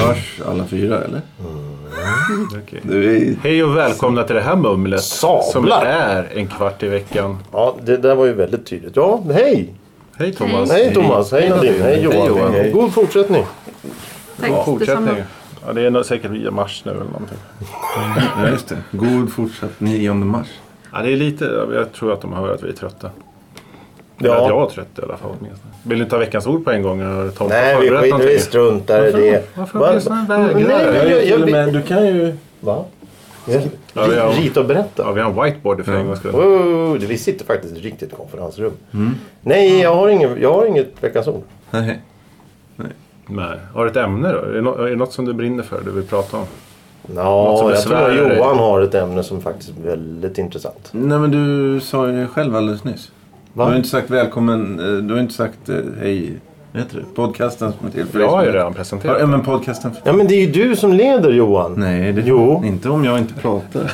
Hörs alla fyra eller? Mm. Okej. Du är... Hej och välkomna till det här mumlet. Som Sablar! är en kvart i veckan. Ja, det där var ju väldigt tydligt. Ja, hej! Hej Thomas. Hej Thomas, hej Nadine, hej Johan. Johan. Hej. God fortsättning. Tack, God fortsättning. detsamma. Ja, det är nog säkert via mars nu eller någonting. Ja, just det. God fortsatt 9 mars. Ja, det är lite, jag tror att de hör att vi är trötta. Ja. Eller att jag Ja. är trött i alla fall åtminstone. Vill du inte ha veckans ord på en gång? Eller har Tom Nej, vi förberett skiter någonting? vi struntar i det. Varför Va- blir det såna här vägrar? Nej, Jag jag, är jag, Till och jag, med, du kan ju... va? Ja, Ja, vi har- Rita och Ja, berätta. vi har en whiteboard för en gång Mm. skull. Wow, vi sitter faktiskt i ett riktigt konferensrum. Nej, jag har, ingen, jag har inget veckans ord. Nej. Nej. Har du ett ämne då? Är det, nå- är det något som du brinner för, du vill prata om? Något som Ja, jag tror besvärar dig. Johan har ett ämne som faktiskt är väldigt intressant. Nej men du sa ju det själv alldeles nyss. Va? Du har inte sagt välkommen, eh, du har inte sagt eh, hej. Vad heter det? Podcasten som är till för dig Jag som har ju heter- redan presenterat. Ja men podcasten. för- Ja, men det är ju du som leder Johan. Nej, det Jo. inte om jag inte pratar.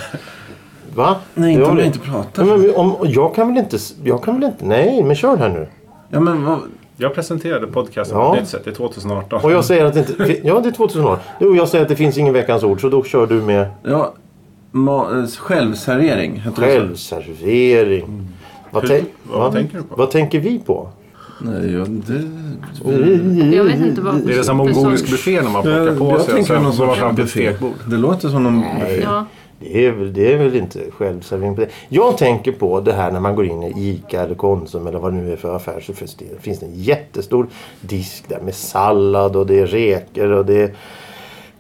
Va? Nej, inte Jo, om det- jag inte pratar. Ja, men om, jag kan väl inte... s- Jag kan väl inte... Nej, men kör här nu. Ja men vad... Jag presenterade podcasten Ja. på ett nytt sätt. Det är 2018. Och jag säger att det inte... Ja, det är 2018. Jo, jag säger att det finns ingen Veckans Ord, så då kör du med Ja, ma- eh, självservering. heter det så? självservering. Vad, Hur- tän- vad tänker du på? Vad tänker vi på? Nej, jag... Det... Jag vet inte vad Det är det som för mongolisk sorts- buffé när man Jag, plockar på sig och tänker sen någon går man fram sorts till ett buffé. stekbord. Det låter som någon... Ja, Det är, väl, det är väl inte självservering på det. Jag tänker på det här när man går in i ICA eller Konsum eller vad det nu är för affär. Så finns det, finns det en jättestor disk där med sallad och det är räkor och det är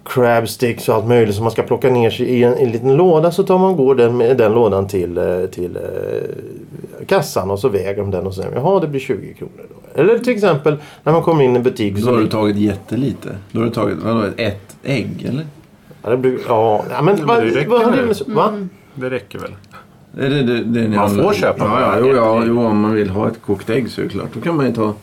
crab sticks och allt möjligt som man ska plocka ner sig i en, i en liten låda. Så tar man går den, med den lådan till, eh, till eh, kassan och så väger de den och säger jaha det blir 20 kronor. Då. Eller till exempel när man kommer in i en butik. Då så- har du tagit jättelite. Då har du tagit, vadå, ett ägg eller? ja, det blir, ja, ja, men, men det vad, räcker vad har väl? det med så- va? Det räcker väl? Är det, det, det är ni Man andra- får köpa ja, ja, bara jo, ett ja, ägg. jo, om man vill ha ett kokt ägg så är det klart. Då kan man ju ta...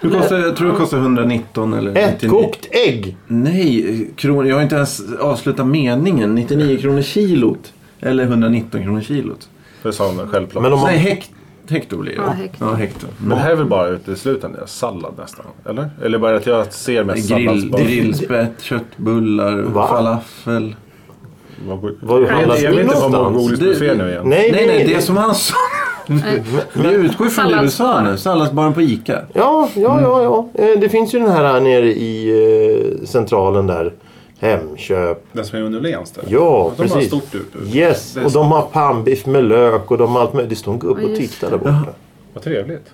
Det kostar, jag tror det kostar 119 eller... Ett 99. kokt ägg! Nej, kron, jag har inte ens avslutat meningen. 99 kronor kilot. Eller 119 kronor kilot. För sån självplock. Men Men, om man, Nej, hekt, hekto blir det. Ja, hekto. Ja, hekto. det här är väl bara uteslutande sallad nästan? Eller? Eller bara att jag ser mest Grill, salladsbar. grillspett, köttbullar, Va? falafel. falafel. Vad går- Vad Jag vet- handlas Jag det vet inte vad någonstans? mongolisk Det- buffé nu igen. Nej, Nej, nej, det är som han sa. Vi utgår från Salladsbar. USA nu. Salladsbaren på Ica. Ja, ja, Mm. ja, ja. Eh, Det finns ju den här nere i eh, centralen där. Hemköp. Den som är under Åhléns där? Ja, de precis. har stort utbud. Yes, Det är och så- de har pannbiff med lök och de har allt möjligt. Det står en gubbe Ja, och just tittar där borta. Vad trevligt.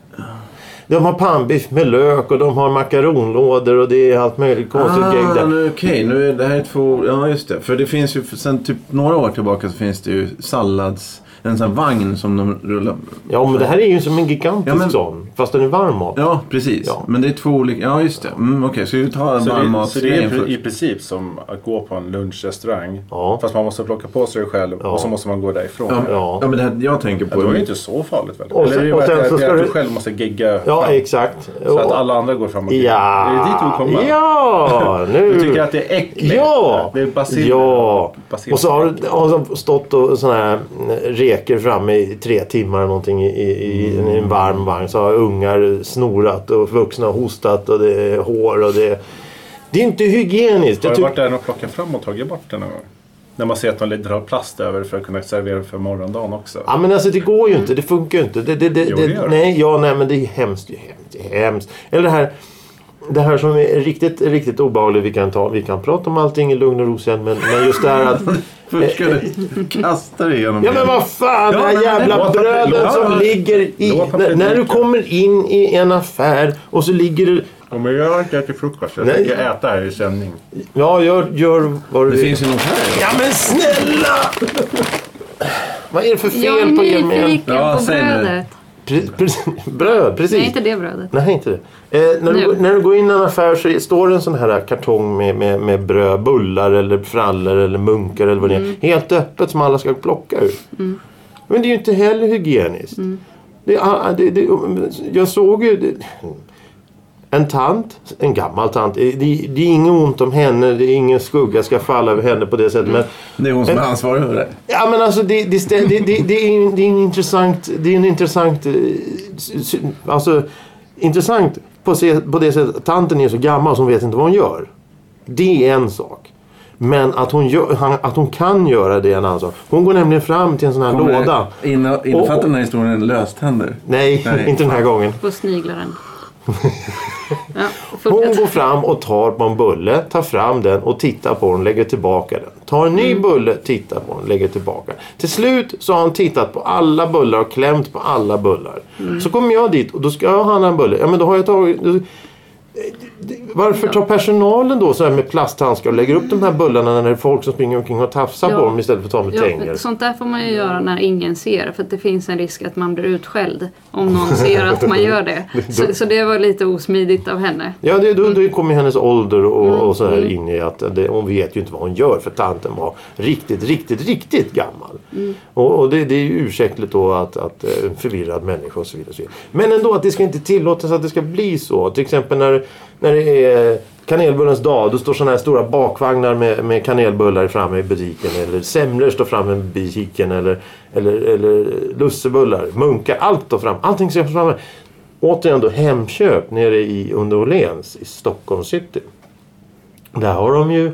De har pannbiff med lök och de har makaronlådor och det är allt möjligt konstigt Ah, gäng där. nu, okej. Nu är det här är två... Ja, just det. För det finns ju... Sen typ några år tillbaka så finns det ju sallads... En sån här vagn som de rullar... Ja, men det här är ju som en gigantisk Ja, men- sån. Fast den är varm mat. Ja, precis. Ja. Men det är två olika... Ja, just det. Mm, okej, så vi tar Så det, så det varmmatsgrejen är i först. princip som att gå på en lunchrestaurang. Ja. Fast man måste plocka på sig det själv och så måste man gå därifrån. Ja, Ja. ja. men det här jag tänker Det var på... ju inte så farligt väl? Och sen- Eller det är och bara sen att, så att, ska att du du- själv måste gegga Ja, fram. exakt. Så att Och- alla andra går fram och geggar. Ja. Är det dit du vill komma? Ja, nu. Du tycker att det är äckligt? Ja! Det är basil. Ja! basil. Och så har du har de stått och sån här eh, reker framme i tre timmar eller någonting i, i, i en- i Mm. en varm vagn. Så har ungar snorat och vuxna har hostat och det är hår och det är... Det är inte hygieniskt. Har Jag du tyck- varit där och plockat fram och tagit bort den någon gång? När man ser att de drar plast över för att kunna servera för morgondagen också. Ja men alltså det går ju inte, det funkar ju inte. Det, det, det, Jo, det det, gör det. nej, ja, nej men det är hemskt, det är hemskt, det är hemskt. Eller det här, det här som är riktigt, riktigt obehagligt. Vi kan, ta, vi kan prata om allting i lugn och ro sen men, men just det här att... Först ska du kasta dig igenom... Ja men vad fan, Ja, det här men- jävla låt- brödet låt- som låt- ligger i... låt- när- När du kommer in i en affär och så ligger det... Om jag har inte ätit frukost. Jag Nej. tänker äta här i sändning. Ja, gör, gör vad du Det vill. finns ju något här. Ja men snälla! Vad är det för Jag är fel på er med... en- nyfiken Ja, på säg nu. brödet. Pre- pre- Bröd, precis. Nej, inte det brödet. Nej, inte det. Eh, när, Nu. du, går- när du går in i en affär så är- står det en sån här kartong med, med, med bröd, bullar eller frallor eller munkar eller vad det är. Helt öppet som alla ska plocka ur. Men det är ju inte um, heller hygieniskt. Det, ah, det, det, jag såg ju... Det, En tant, en gammal tant. eh, Det, det är inget ont om henne, det är ingen skugga ska falla över henne på det sättet. Men Det är hon som är ansvarig för det. Ja men alltså det, det, stä- det, det, det, är, en- det är en intressant, det är en intressant, eh, sy- sy- alltså intressant på, se, på det sättet att tanten är så gammal så hon vet inte vad hon gör. Det är en sak. Men att hon, gör, han- att hon kan göra det är en annan sak. Hon går nämligen fram till en sån här Kommer det låda. inne- Innefattar den här historien löständer? Nej, Nej. inte den här gången. På sniglaren. Ja, Hon fortsätt. går fram och tar på en bulle, tar fram den och tittar på den, lägger tillbaka den. Tar en Mm. ny bulle, tittar på den, lägger tillbaka den. Till slut så har han tittat på alla bullar och klämt på alla bullar. Mm. Så kommer jag dit och då ska jag handla en bulle. Ja men då har jag tagit... då- Varför tar personalen då så här med plasthandskar och lägger upp de här bullarna när det är folk som springer omkring och tafsar Ja. på dem istället för att ta med Ja, tänger? men sånt där får man ju göra när ingen ser för att det finns en risk att man blir utskälld om någon ser att man gör det. Så, så det var lite osmidigt av henne. Ja, det, då, då kommer hennes ålder och, och så här in i att det, hon vet ju inte vad hon gör för tanten var riktigt, riktigt, riktigt gammal. Och, och det, det är ju ursäktligt då att, att eh, en förvirrad människa och så vidare. och så vidare. Men ändå att det ska inte tillåtas att det ska bli så. Till exempel när, när det är kanelbullens dag, då står sådana här stora bakvagnar med, med kanelbullar framme i butiken. Eller semlor står framme i butiken. Eller, eller, eller lussebullar, munkar, allt står fram. Allting ska framme. Återigen då Hemköp nere i under Åhléns i Stockholm city. Där har de ju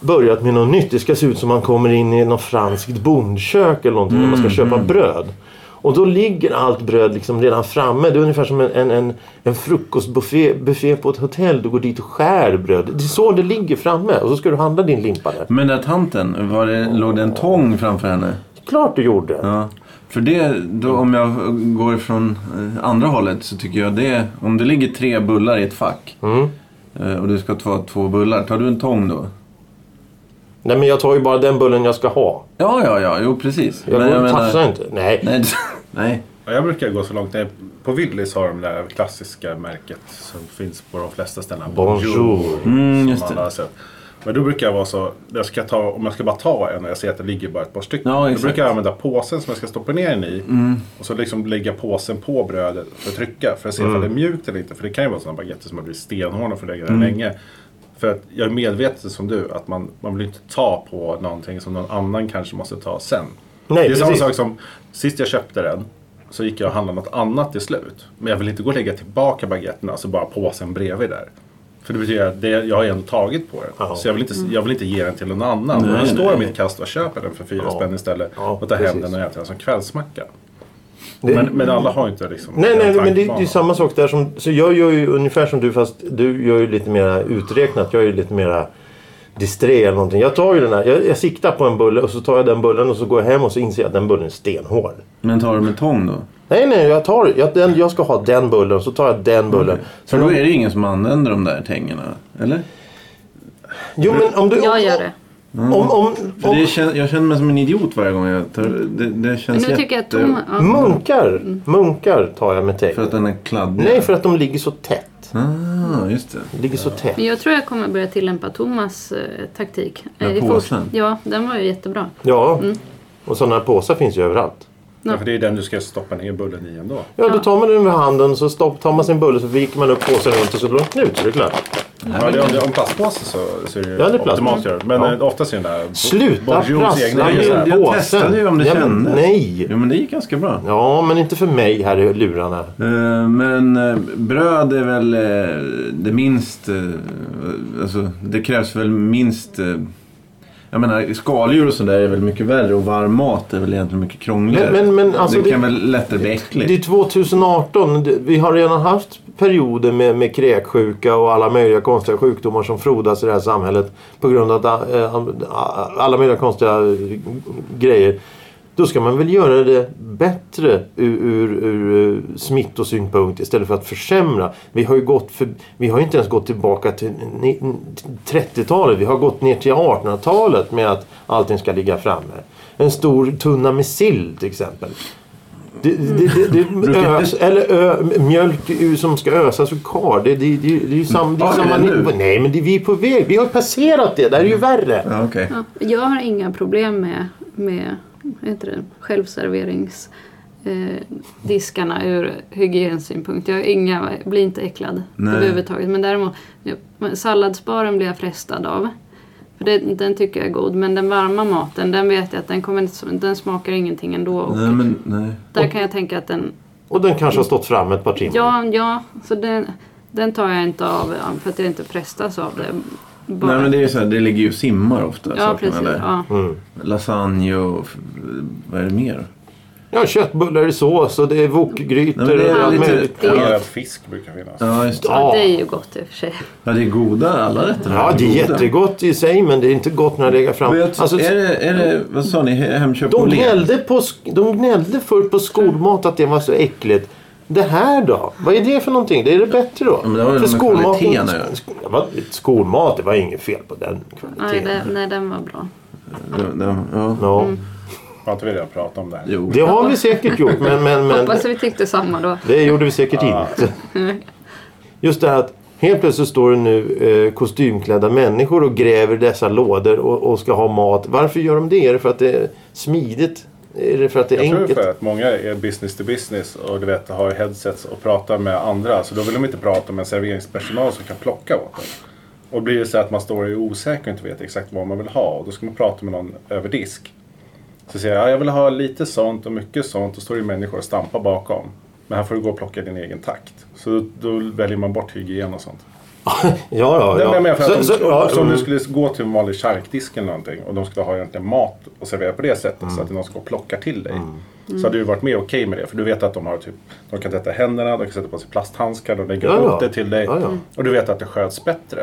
börjat med något nytt. Det ska se ut som man kommer in i något franskt bondkök eller någonting när man Mm, ska köpa bröd. Och då ligger allt bröd liksom redan framme. Det är ungefär som en, en, en, en frukostbuffé buffé på ett hotell. Du går dit och skär bröd. Det är så det ligger framme. Och så ska du handla din limpa där. Men den där tanten, var det, låg det en tång framför henne? Klart du gjorde. Ja. För det, då, om jag går från eh, andra hållet så tycker jag det, om det ligger tre bullar i ett fack Mm. eh, och du ska ta två bullar, tar du en tång då? Nej men jag tar ju bara den bullen jag ska ha. Ja, ja, ja, jo precis. Jag Men går och menar- tafsar inte. Nej. Nej, nej. Ja, Jag brukar gå så långt. Nej, På Willys har de det där klassiska märket som finns på de flesta ställen. Bonjour. som Mm, just alla det. har sett. Men då brukar jag vara så, jag ska ta, om jag ska bara ta en och jag ser att det ligger bara ett par stycken. Ja, då exakt. Mm. brukar jag använda påsen som jag ska stoppa ner den i. Och så liksom lägga påsen på brödet för att trycka. För att se Mm. om det är mjukt eller inte. För det kan ju vara sådana baguetter som har blivit stenhårda för att lägga där Mm. länge. För att jag är medveten som du att man, man vill inte ta på någonting som någon annan kanske måste ta sen. Nej, det är samma precis. sak som liksom, sist jag köpte den så gick jag och handlade något annat till slut. Men jag vill inte gå och lägga tillbaka baguetterna, alltså bara påsen bredvid där. För det betyder att det, jag har ju ändå tagit på den. Ja. Så jag vill, inte, jag vill inte ge den till någon annan. Nej, jag nej, står i nej. mitt kast och köper den för fyra Ja. spänn istället. Ja, och tar hem precis. den och äter den som kvällsmacka. Det- Men, men alla har ju inte liksom Nej, den nej, men det, det tankebanan. är ju samma sak där som... Så jag gör ju ungefär som du fast du gör ju lite mera uträknat. Jag är ju lite mera disträ eller någonting. Jag tar ju den här, jag, jag siktar på en bulle och så tar jag den bullen och så går jag hem och så inser jag att den bullen är stenhård. Men tar du med tång då? Nej, nej, jag tar jag, den, jag ska ha den bullen så tar jag den bullen. Mm. För då är det ingen som använder de där tängerna, eller? Jo, men om du... Jag gör det. Om, om, om, Mm. För det kän, jag känner mig som en idiot varje gång jag tar... Det, det Men känns nu tycker jag att jätte... Tom... Ja. munkar, Mm. munkar tar jag med För täng. att den är kladdig? Nej, för att de ligger så tätt. Ah, just det. Ligger så tätt. Men jag tror jag kommer börja tillämpa Thomas eh, taktik. Den Eh, i fort- påsen? Ja, den var ju jättebra. Ja, Mm. och sådana här påsar finns ju överallt. Ja, för det är den du ska stoppa ner bullen i ändå. Ja, då tar man den med handen så stopp, tar man sin bulle så viker man upp påsen runt och så drar man knut så det är klart. Ja, det, om det är en plastpåse så, så är det ju Ja, det är plast. optimalt. gör det. Men Ja. eh, oftast är den där... Sluta Bonjours egna prassla är ju Jag, så med här. jag testade ju om det Ja, men kändes. nej. Jo, men det gick ganska bra. Ja, men inte för mig här i lurarna. Eh, Men eh, bröd är väl eh, det minst... eh, Alltså, det krävs väl minst... eh, Jag menar, skaldjur och sådär är väl mycket värre och varm mat är väl egentligen mycket krångligare. Men- men- men, alltså, det kan det- väl lättare bli äckligt. Det är 2018. Det- Vi har redan haft perioder med, med kräksjuka och alla möjliga konstiga sjukdomar som frodas i det här samhället. På grund av att, eh, alla möjliga konstiga eh, grejer. Då ska man väl göra det bättre ur, ur, ur eh, smittosynpunkt istället för att försämra. Vi har ju gått för, vi har ju inte ens gått tillbaka till ni- 30-talet. Vi har gått ner till 1800-talet med att allting ska ligga framme. En stor tunna med sill till exempel. Det, det, det, det, Brukar ös, eller ö, mjölk ur- som ska ösas ur kar. Det, det, det, det är ju sam, det är Har vi samma det nu? nivå. Nej, men det, vi är på väg. Vi har passerat det. Det här är ju värre. Ja, okej. Ja, jag har inga problem med, med vad heter det, självserverings... eh, diskarna ur hygiensynpunkt. Jag är inga, blir inte äcklad Nej. överhuvudtaget. Men däremot, ja, men salladsbaren blir jag frestad av. För det, den tycker jag är god. Men den varma maten, den vet jag att den, kommer inte, den smakar ingenting ändå. Och Nej, men nej. Där kan jag tänka att den... Och den kanske har stått fram ett par timmar. Ja, ja. Så den, den tar jag inte av ja, för att jag inte frestas av det. Bara- Nej men det är ju så här, det ligger ju och simmar ofta. ja, sakerna precis. där. Ja. Mm. Lasagne och f- vad är det mer? ja, köttbullar i sås och det är Nej, men wokgrytor det är och allt lite- möjligt. Det är- Röd fisk brukar finnas. Ja, just det. Ja, Ja. det är ju gott i och för sig. Ja, det är goda alla rätter. Ja, det är goda. jättegott i sig men det är inte gott när det lägger fram. Vet, Alltså, är, det, är det, vad sa ni, He- Hemköp de, Åhléns? gnällde på, sk- de gnällde förr på skolmat att det var så äckligt. Det här då? Vad är det för någonting? Det är det bättre då? men det har väl för med kvaliteten att göra. sk- vad- skolmat, det var inget fel på den Nej, kvaliteten. det, Mm. nej, den var bra. De- de- Ja. Ja. Har inte vi redan pratat om det här? Jo. Det har vi säkert gjort men, men, men Hoppas vi tyckte samma då. det gjorde vi säkert inte. Just det här att helt plötsligt står det nu eh, kostymklädda människor och gräver dessa lådor och, och ska ha mat. Varför gör de det? Är det för att det är smidigt? Är det för att det är Jag tror enkelt? för att många är business to business och du vet har headsets och pratar med andra. Så då vill de inte prata med en serveringspersonal som kan plocka åt en. Och blir det så att man står och är osäker och inte vet exakt vad man vill ha. Och då ska man prata med någon över disk. Så säger jag, ja, jag vill ha lite sånt och mycket sånt. Och står det människor och stampar bakom. Men här får du gå och plocka i din egen takt. Så då, då väljer man bort hygien och sånt. Ja, Nej, men ja, jag menar ja. för att Så- om, så- ja, så om du mm. skulle gå till en vanlig charkdisk eller någonting och de skulle ha egentligen mat och servera på det sättet Mm. så att det är någon som går och plockar till dig. Så hade du varit mer okej med det. För du vet att de har typ, de kan tvätta händerna, de kan sätta på sig plasthandskar, de lägger Ja, upp ja. det till dig. Ja, ja. Och du vet att det sköts bättre.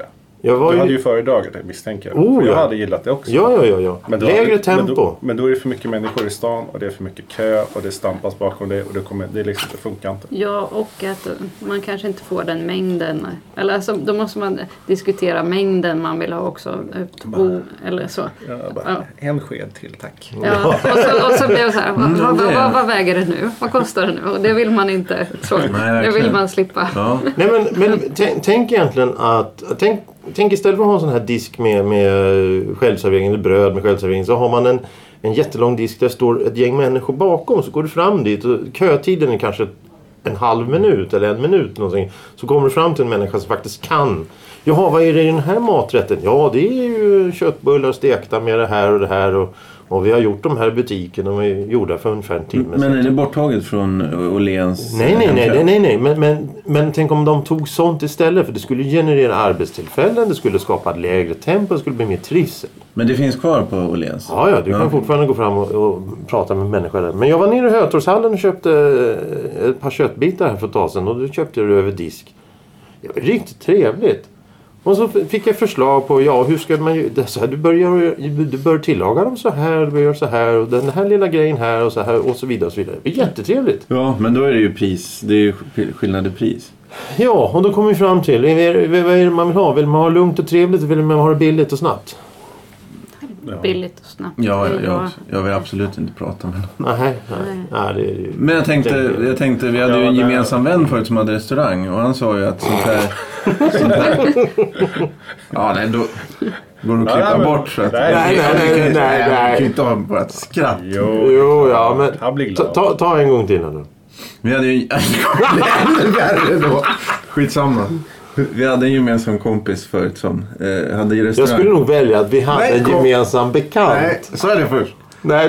Jag var Du hade ju... ju föredragit det misstänker jag. Oh, För jag ja. hade gillat det också. Ja, ja, ja. ja. Men då- Lägre Men tempo. då, men då är det för mycket människor i stan och det är för mycket kö och det stampas bakom dig och det, kommer, det, är liksom, det funkar inte. Ja, och att man kanske inte får den mängden. Eller alltså, då måste man diskutera mängden man vill ha också. Två, eller så. Ja. En sked till tack. Ja, och så, och så blev det så här, vad, Mm, vad, det. vad, vad väger det nu? Vad kostar det nu? Och det vill man inte. Så, det verkligen. vill man slippa. Ja. Nej, men, men tän- tänk egentligen att... Tänk, tänk istället för att ha en sån här disk med, med eh, självservering, eller bröd med självservering, så har man en, en jättelång disk där det står ett gäng människor bakom. Så går du fram dit och kötiden är kanske en halv minut eller en minut någonting. Så kommer du fram till en människa som faktiskt kan. Jaha, vad är det i den här maträtten? Ja, det är ju köttbullar stekta med det här och det här. Och, och vi har gjort de här i butiken. De är gjorda för ungefär en timme Men är det borttaget från eh, Åhléns? Nej, nej, nej, Hemköp? nej, nej, nej. Men, men, men tänk om de tog sånt istället. För det skulle generera arbetstillfällen, det skulle skapa lägre tempo, det skulle bli mer trivsel. Men det finns kvar på Åhléns? Ja, ja, du kan Ja. fortfarande gå fram och, och prata med människor där. Men jag var nere i Hötorgshallen och köpte eh, ett par köttbitar här för ett tag sedan och då köpte jag det över disk. Det var riktigt trevligt. Och så fick jag förslag på, ja hur ska man ju- det är så här, du, bör göra, du bör tillaga dem så här, du bör göra så här och den här lilla grejen här och så här och så vidare. Och så vidare. Det var jättetrevligt. Ja, men då är det ju pris. Det är ju sk- skillnad i pris. Ja, och då kommer vi fram till är- är- vad är det man vill ha? Vill man ha lugnt och trevligt eller vill man ha det billigt och snabbt? Billigt och snabbt. Ja, Det är jag, jag, bra. jag vill absolut inte prata med någon. Nej, nej. nej det är ju... Men jag tänkte, jag tänkte vi hade ju en Ja, det- gemensam vän förut som hade restaurang och han sa ju att sånt här... sånt här ja, nej, då går det att klippa Nej, men- bort. Så att, nej, nej, nej, nej, nej, nej. Vi kan ju inte ha bara ett skratt. Jo, Jo, ja, men Han blir ta, glad. ta, ta en gång till här nu. Vi hade ju... Ännu värre då. Skitsamma. Vi hade en gemensam kompis förut som eh, hade ju Jag restaurang. skulle nog välja att vi hade Nej, en kom. gemensam bekant. Nej, Nej, så är det först.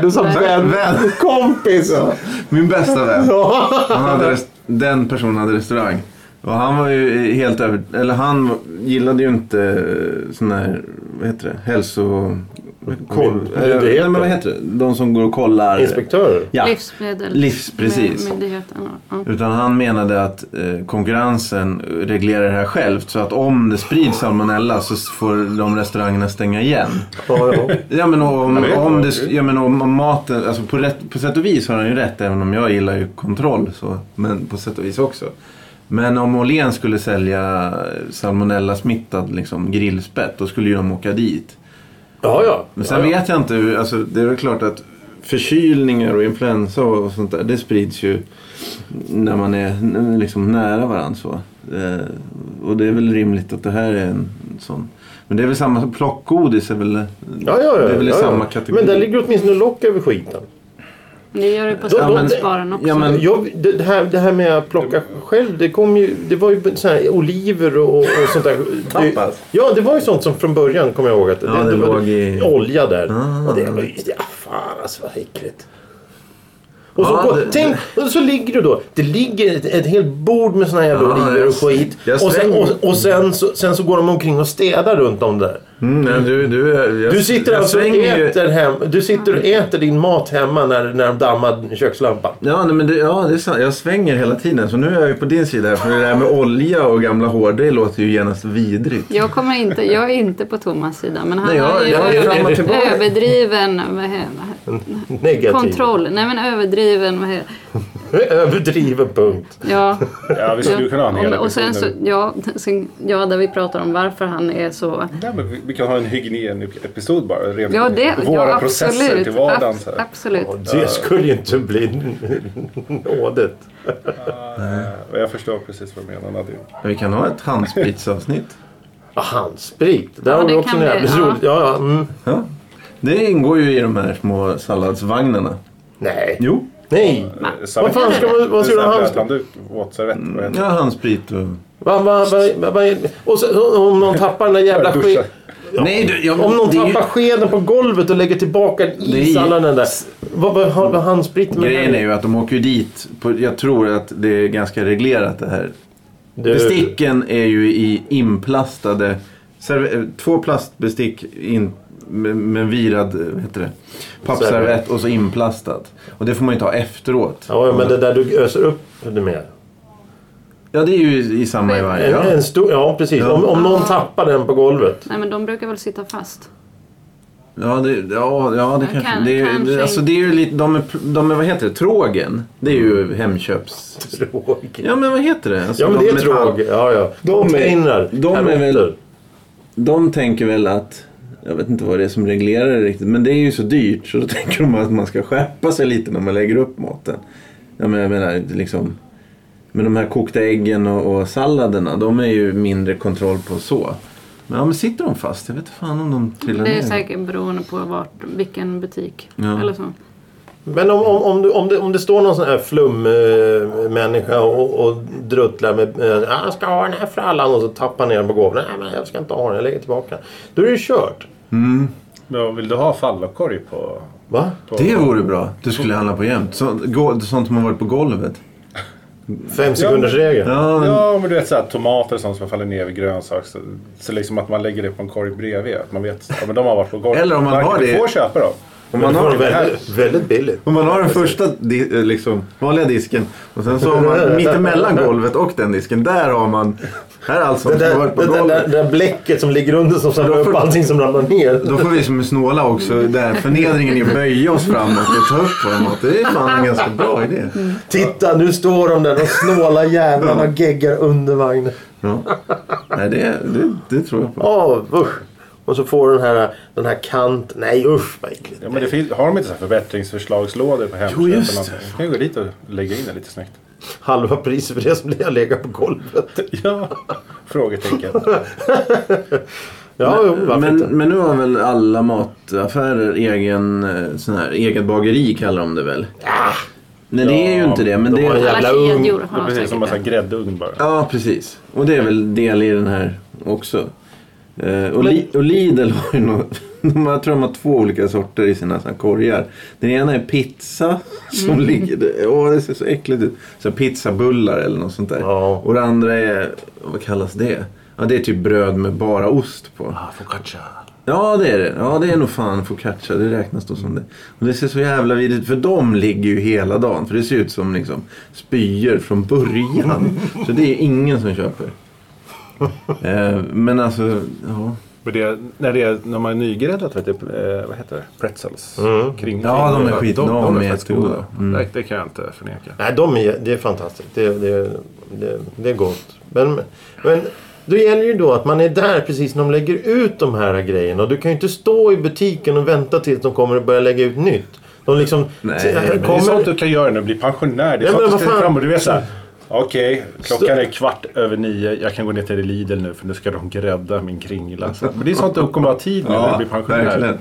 du sa Nej. vän. Vän. Kompis. Ja, Min bästa vän. Ja. Han hade rest- den personen hade restaurang. Och han var ju helt över... Eller han gillade ju inte eh, sån här... Vad heter det? Hälso... Koll... Myndigheter. eh, Nej, men vad heter det? De som går och kollar... Inspektörer. Ja. Livsmedel. Livs, precis. Med, myndigheten. Ja. Utan han menade att eh, konkurrensen reglerar det här självt. Så att om det sprids salmonella så får de restaurangerna stänga igen. Ja, ja. Ja men om, det är om, klart. det, ja, men om, om maten, alltså på, rätt, på sätt och vis har han ju rätt även om jag gillar ju kontroll så. Men på sätt och vis också. Men om Åhléns skulle sälja salmonella smittad liksom, grillspett då skulle ju de åka dit. ja, ja. Men sen vet jag inte, hur- alltså, det är väl klart att förkylningar och influensa och sånt där det sprids ju när man är n- liksom nära varandra. Så. Eh, och det är väl rimligt att det här är en sån. Men det är väl samma, plockgodis är väl, Ja, ja, ja, det är väl i ja, ja. samma kategori. Men där ligger åtminstone lock över skiten. Ni gör det på Då- då- salladsbaren också. ja, men- Jag, det, det här, det här med att plocka själv, det, kom ju, det var ju så här, oliver och, och sånt där. Tapas. Det, ja, det var ju sånt som från början kommer jag ihåg att Ja, det var låg i- Ah. olja där. Och det var ju, ja fan alltså vad äckligt. Och så, Ja, går, det- tänk, och så ligger du då. Det ligger ett, ett helt bord med såna här jävla Ja, oliver Ah, jag- och skit. jag Och, sen, slänger- och, och sen, så, sen så går de omkring och städar runt om där. Mm, nej, du, du, jag, Du sitter jag alltså och slänger ju- äter, hem, du sitter och äter din mat hemma när, när de dammar kökslampan. Ja, nej, men det, ja, det är sant. Jag svänger hela tiden. Så nu är jag ju på din sida. här, För det där med olja och gamla hår, det låter ju genast vidrigt. Jag, kommer inte, jag är inte på Thomas sida, men han Nej, jag- har ju jag är fram och över, tillbaka. överdriven vad he- Negativ. kontroll. Nej, men överdriven. Vad he- Överdriven punkt. ja, Ja, vi skulle ju kunna ha en hel om, och sen så, episod nu. ja, sen, ja, där vi pratar om varför han är så... Nej, men vi, vi kan ha en hygien-episod bara. Rent Ja, det, våra ja, processer absolut, till vardagen. Så ab- här. absolut. Och det skulle ju inte bli nådet. Ja, Jag förstår precis vad du menar Nadine. Men Vi kan ha ett handsprittsavsnitt. Ja, handsprit. Där Ja, har vi det också en kan bli, jävligt ja. roligt. Ja, ja, mm. Ja. Det ingår ju i de här små salladsvagnarna. Nej. Jo. Nej. Vad fan ska man- vad ska man ha? handskar? Våtservett. vad heter Ja, handsprit och... Va, va, va, va, va, och så, om någon tappar den där jävla det? Duscha. skeden. Nej, du, jag, Om någon det är ju- tappar skeden på golvet och lägger tillbaka den Det är i ju- salladen där. Vad vad har vad handsprit med Grejen är ju att de åker ju dit. På, jag tror att det är ganska reglerat det här. Du- Besticken är ju i inplastade... serv- eh, Två plastbestick in, med, med virad eh, vad heter det, pappservett och så inplastat. Och det får man ju ta efteråt. Ja, men det där du öser upp det med. Ja, det är ju i samma i varje. En, Ja. en stor, ja, precis. Om, om någon tappar den på golvet. Nej, men de brukar väl sitta fast. Ja, det, ja, ja, det Kan- kanske... Det är, kanske det, alltså, det är ju lite... De är, de är, vad heter det? Trågen. Det är ju Hemköps... Tråkigt. Ja, men vad heter det? Alltså, Mm. Ja, men det de är metall- tråg. Ja, ja. De är- Container. de är väl- karotter. De tänker väl att, jag vet inte vad det är som reglerar det riktigt, men det är ju så dyrt så då tänker de att man ska skärpa sig lite när man lägger upp maten. Ja, men jag menar liksom, men de här kokta äggen och, och salladerna, de är ju mindre kontroll på så. Men, ja, men sitter de fast? Jag vet inte fan om de trillar Det är ner. säkert beroende på vart, vilken butik. Ja. Eller så. Men om, om, om, du, om, det, om det står någon sån här flummänniska och, och druttlar med eh, jag ska ha den här frallan och så tappar ner den på golvet. Nej, men jag ska inte ha den. Jag lägger tillbaka den. Då är det ju kört. Men vill du ha fallakorg på... Va? på Det vore bra. Du skulle handla på jämt. Så, gå, sånt som har varit på golvet. Fem sekunders regel. Ja, men, Ja, men du vet såhär tomater och sånt som faller ner vid grönsaker. Så, så liksom att man lägger det på en korg bredvid. Att man vet ja, men de har varit på golvet. Eller om man Marken, har Du det- får köpa dem. om Men man då får har de väldigt, väldigt billigt. Om man har den första di- eh, liksom, vanliga disken och sen så har man mittemellan golvet och den disken, där har man... Här är allt som Det där, har varit på det, där, det golvet. där bläcket som ligger under som samlar upp allting som ramlar ner. Då får vi som är snåla också, där förnedringen i att böja oss framåt och ta upp vår mat. Det är fan en ganska bra idé. Titta, nu står de där, de snåla jävlarna och geggar under vagnen. Ja. Nej, det, det, det tror jag på. Åh, usch. Och så får den här, den här kant... Nej, usch vad äckligt. Ja, men det finns, har de inte så här förbättringsförslagslådor på Hemköp? Jo, just eller någonting? Du kan ju gå dit och lägga in det lite snyggt. Halva priset för det som jag lägger på golvet. Ja, frågetecken. Ja, jo, varför Men, inte? men nu har väl alla mataffärer egen eh, sån här, eget bageri kallar de det väl? Nej, det är ju inte det. Men Ah! de det har är... ju- Jävla Alla ung. kedjor Det är har precis säkert som en sån här det. gräddugn bara. Ja, precis. Och det är väl del i den här också. Eh, och, Li- och Lidl har ju något, de, har- jag tror de har två olika sorter i sina såna här korgar. Den ena är pizza som Mm. ligger där. Åh, det ser så äckligt ut. Så här pizzabullar eller något sånt där. Ja. Och det andra är, vad kallas det? Ja, det är typ bröd med bara ost på. Ah, focaccia. Ja, det är det. Ja, det är nog fan focaccia. Det räknas då som det. Och det ser så jävla vidrigt För de ligger ju hela dagen. För det ser ut som liksom spyor från början. Så det är ju ingen som köper. Eh, Men alltså, ja. Men det, när, det är, när man är nygräddat, vet du, eh, vad heter det? Pretzels. Kring, Ja, de är skit- De, de är är faktiskt jättegoda. Mm. goda. Det, det kan jag inte förneka. Nej, de är, det är fantastiskt. Det, det, det, det är gott. Men, men då gäller ju då att man är där precis när de lägger ut de här grejerna. Och du kan ju inte stå i butiken och vänta tills de kommer och börjar lägga ut nytt. De liksom... Nej, så- men det är Det är sånt kommer, du kan göra nu, bli pensionär. Det är Ja, men sånt du vad ska fan? fram och du vet såhär. Okej, klockan Så- är kvart över nio. Jag kan gå ner till Lidl nu för nu ska de grädda min kringla. Så- Men det är sånt du kommer ha tid med när du blir pensionär. verkligen.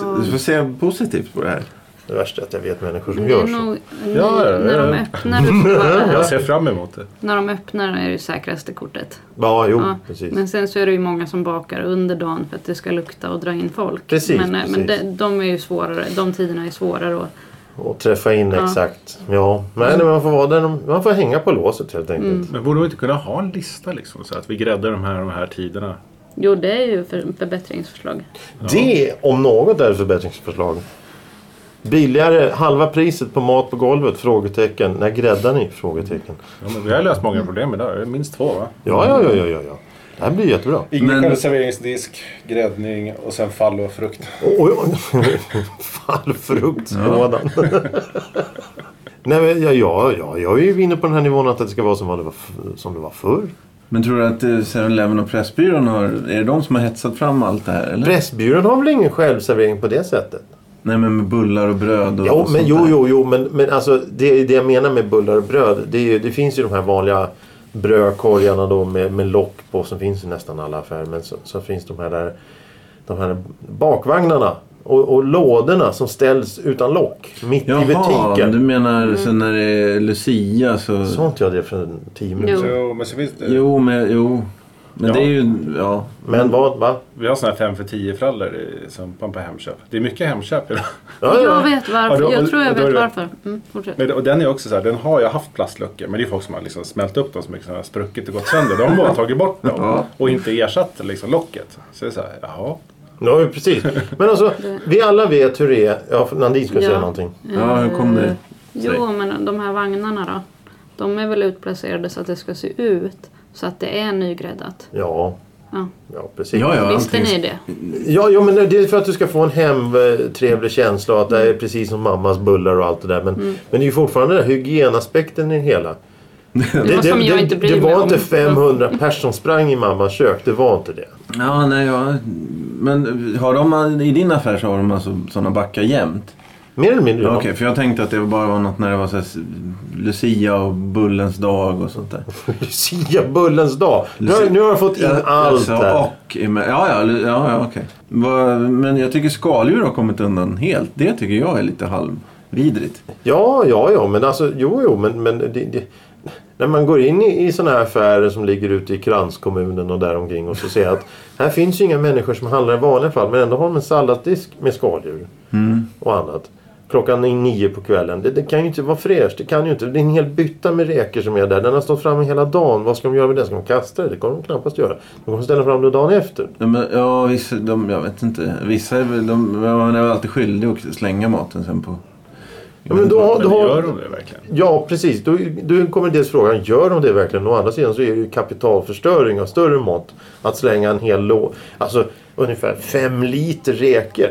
Så- Du får se positivt på det här. Det värsta är att jag vet människor som Men gör det är så. nog, Ja, ja, När de ja. öppnar det så Jag bara, ser fram emot det. När de öppnar är det ju säkraste kortet. Ja, jo, Ja, precis. Men sen så är det ju många som bakar under dagen för att det ska lukta och dra in folk. Precis, men eh, men precis. de, de är ju svårare. De tiderna är svårare. att- Och träffa in Ja. exakt. Ja, nej, nej, man får vara där. de- Man får hänga på låset helt enkelt. Men borde vi inte kunna ha en lista liksom? Så att vi gräddar de här, de här tiderna. Jo, det är ju för, förbättringsförslag. Det om något är ett förbättringsförslag. Billigare, halva priset på mat på golvet? Frågetecken. När gräddar ni? Frågetecken. Ja, men vi har löst många problem idag. Minst två va? Ja, ja, ja, ja, ja. ja. Det här blir jättebra. Ingen Men- konserveringsdisk, gräddning och sen fall och frukt. Oj, oj. Fallfruktslådan. Nej, men ja, ja, ja, jag är ju inne på den här nivån att det ska vara som vad det var, f- som det var förr. Men tror du att eh, 7-Eleven och Pressbyrån har... Är det de som har hetsat fram allt det här? Eller? Pressbyrån har väl ingen självservering på det sättet? Nej, men med bullar och bröd och, Ja, och men sånt jo, där. jo, jo, men, men alltså det, det jag menar med bullar och bröd, det, är ju, det finns ju de här vanliga brödkorgarna då med, med lock på som finns i nästan alla affärer. Men så, så finns de här, där, de här bakvagnarna och, och lådorna som ställs utan lock mitt i Jaha, butiken. Mm. du menar sen när det är Lucia så... Sa inte jag det för tio minuter Jo. sedan? Jo, men så finns det... Jo, men, jo. men Ja. det är ju... Ja. Men vad? Va? Vi har såna här 5 för 10 frallor i- som man på Hemköp. Det är mycket Hemköp idag. Ja, Jag ja. vet varför. Ja, då- jag tror jag då är vet det- varför. Mm, fortsätt. Men, och den är också så här, den har jag haft plastluckor. Men det är folk som har liksom smält upp dem så mycket så de har spruckit och gått sönder. De har bara tagit bort dem och inte ersatt liksom, locket. Så det är så här, jaha. ja, precis. Men alltså, vi alla vet hur det är. Ja, Nandin skulle Ja. säga någonting. ja, hur kom det Jo, men de här vagnarna då. De är väl utplacerade så att det ska se ut så att det är nygräddat. Ja, Ja. ja precis. Ja, ja, Visste allting- ni det? Ja, ja, men det är för att du ska få en hemtrevlig känsla och att det är precis som mammas bullar och allt det där. Men, Mm. men det är ju fortfarande den här hygienaspekten i det hela. Mm. Det, var som jag inte bryr det mig var inte om. 500 personer som sprang i mammas kök. Det var inte det. Ja, nej, ja. Men har de, i din affär så har de alltså sådana backar jämt? Mer eller mindre. Ja. ja. Okej, för jag tänkte att det bara var något när det var så här, s- Lucia och Bullens dag och sånt där. Lucia bullens dag. Nu har, nu har jag fått in allt alltså, där. och, ja, ja, lu- ja, ja okej. Va- Men jag tycker skaldjur har kommit undan helt. Det tycker jag är lite halvvidrigt. Ja, ja, ja. Men alltså, jo, jo. Men, men det, det, när man går in i, i sådana här affärer som ligger ute i kranskommunen och däromkring och så ser jag att här finns ju inga människor som handlar i vanliga fall. Men ändå har de en salladsdisk med skaldjur. och annat. Klockan är nio på kvällen. Det, det kan ju inte vara fräscht. Det kan ju inte. Det är en hel bytta med räkor som är där. Den har stått framme hela dagen. Vad ska de göra med den? Ska de kasta det? Det kommer de knappast göra. De kommer ställa fram det dagen efter. Ja, men, ja vissa, de, jag vet inte. Vissa är väl, de, man är väl alltid skyldig att slänga maten sen på... Ja, men då, har- Men då, gör har- de det verkligen? ja precis. Då, då kommer dels frågan, gör de det verkligen? Å andra sidan så är det ju kapitalförstöring av större mått. Att slänga en hel låda. Alltså ungefär fem liter räkor.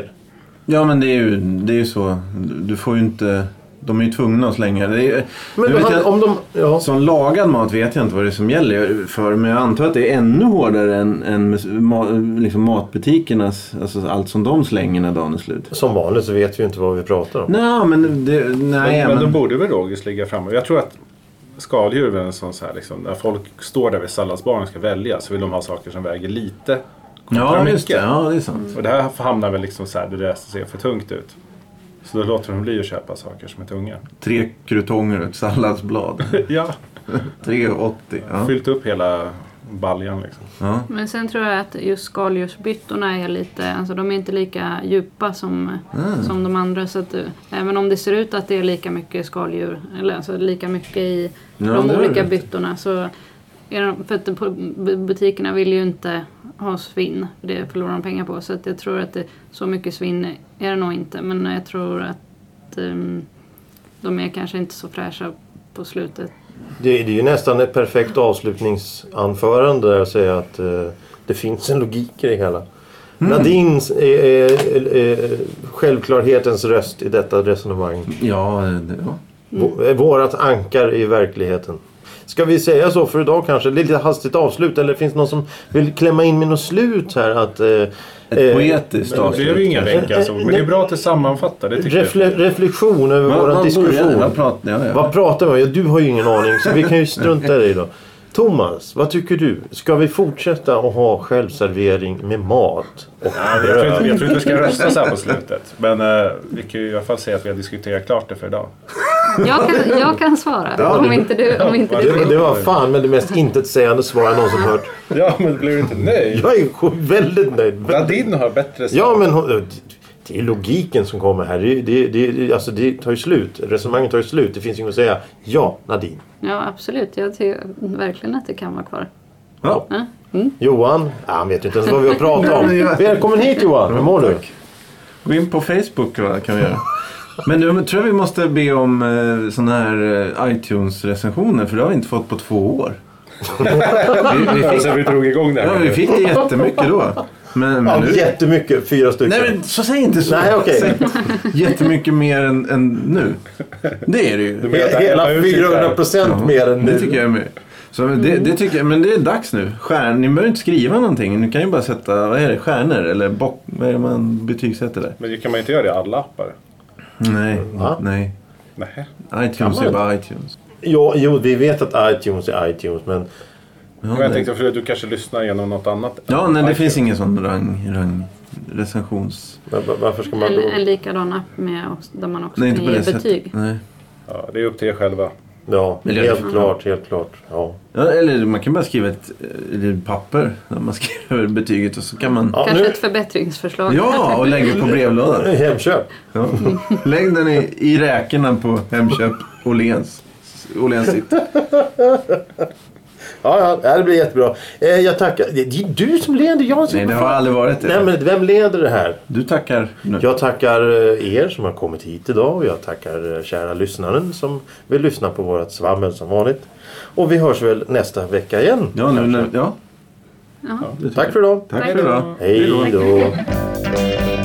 Ja, men det är ju, det är ju så. Du får ju inte... De är ju tvungna att slänga. Det är, Men nu vet om, jag- om de... Ja. Som lagad mat vet jag inte vad det är som gäller för. Men jag antar att det är ännu hårdare än, än ma- liksom matbutikernas, alltså allt som de slänger när dagen är slut. Som vanligt så vet vi ju inte vad vi pratar om. Nej, men det, nej, men, men men, då borde väl Rogers ligga framme. Jag tror att skaldjur är väl en sån så här liksom, när folk står där vid salladsbaren och ska välja så vill de ha saker som väger lite. Ja, kontra just det. mycket. Ja, det är sant. Och det här hamnar väl liksom så här, det där ser för tungt ut. Så då låter de bli att köpa saker som är tunga. Tre krutonger och ett salladsblad. Ja, 3,80. Ja. fyllt upp hela baljan liksom. Ja. Men sen tror jag att just skaldjursbyttorna är lite, alltså de är inte lika djupa som, Ah. som de andra. Så att, eh, även om det ser ut att det är lika mycket skaldjur, eller alltså lika mycket i Ja, det de är olika det. byttorna. Så är de, för att det- på- bu- butikerna vill ju inte ha svinn, för det förlorar de pengar på. Så att jag tror att det, så mycket svinn är det nog inte. Men jag tror att ehm, de är kanske inte så fräscha på slutet. Det, det är ju nästan ett perfekt avslutningsanförande där att säga att eh, det finns en logik i det hela. Nadins eh, eh, eh, självklarhetens röst i detta resonemang. Ja, det, ja. Mm. Vårat ankar i verkligheten. Ska vi säga så för idag kanske? Lite hastigt avslut eller finns det någon som vill klämma in med något slut här? Att, eh, Ett poetiskt Men det är ju inga kanske. bänkar så. Men det är bra att det sammanfattar. Det tycker refle- reflektion över Vad- våran vad började- diskussion. Vad pratade jag Vad pratar vi om? Ja, Du har ju ingen aning så vi kan ju strunta i det då. Thomas, vad tycker du? Ska vi fortsätta att ha självservering med mat och Jag tror, bröd? inte, jag tror inte vi ska rösta så här på slutet. Men eh, vi kan ju i alla fall säga att vi har diskuterat klart det för idag. Jag kan, jag kan svara. om inte du, om inte du Ja, Det, vill. det var fan med det mest intetsägande svar jag någonsin hört. Ja, men det blev inte nej. Jag är väldigt nöjd. Nadine har bättre svar. Ja, men hon- det är logiken som kommer här. Det, det, det, alltså, det tar ju slut. Resonemanget tar ju slut. Det finns inget att säga. Ja, Nadine. Ja, absolut. Jag tycker verkligen att det kan vara kvar. Ja. Ja. Johan? Ja, han vet ju inte ens vad vi har pratat om. Nej, jag- Välkommen hit Johan! Hur mår du? Gå in på Facebook va, kan vi göra. Men nu tror jag vi måste be om eh, såna här eh, iTunes-recensioner för det har vi inte fått på två år. vi, vi, Ja, fick, Sen vi drog igång det ja, här. vi fick det jättemycket då. Men, men Ja, nu... jättemycket. Fyra stycken. Nej men så säg inte så. Nej, okej. Säg jättemycket mer än, än nu. Det är det ju. menar att det här Hela var ut lite här? 400 procent mer än Det tycker nu. jag är med. Så det, det tycker jag, men det är dags nu. Stjärn, ni behöver inte skriva någonting. Ni kan ju bara sätta vad är det, stjärnor eller bock, vad är det man betygsätter där? Men kan man inte göra det i alla appar? Nej, Va? nej. Nej. iTunes är bara iTunes. Jo, jo, vi vet att iTunes är iTunes, men Ja, Men jag nej. tänkte för du kanske lyssnar genom något annat. ja nej, det iTunes. finns ingen sån rang, rang recensions... var- var- varför ska man En, då... en likadan app med, oss, där man också Nej, inte kan på ge det betyg. sättet. Nej. Ja, det är upp till er själva. Ja, Eller- helt klart, helt klart. Ja. Ja, eller man kan bara skriva ett eh, litet papper där man skriver betyget och så kan man... Ja, Kanske nu- ett förbättringsförslag. Ja, och lägger på brevlådan. Hemköp. Ja. Lägg den i, i räkorna på Hemköp Åhléns. Åhléns City. Ja, ja, det blir jättebra. Eh, jag tackar. Det det är du som leder. Jag som Nej, det har aldrig varit det. Nej, men vem leder det här? Du tackar nu. Jag tackar eh, er som har kommit hit idag och jag tackar eh, kära lyssnaren som vill lyssna på vårat svammel som vanligt. Och vi hörs väl nästa vecka igen. Ja, nu, kanske. nu, ja. Ja. det tycker Tack för idag. jag. Tack för idag. Hej då.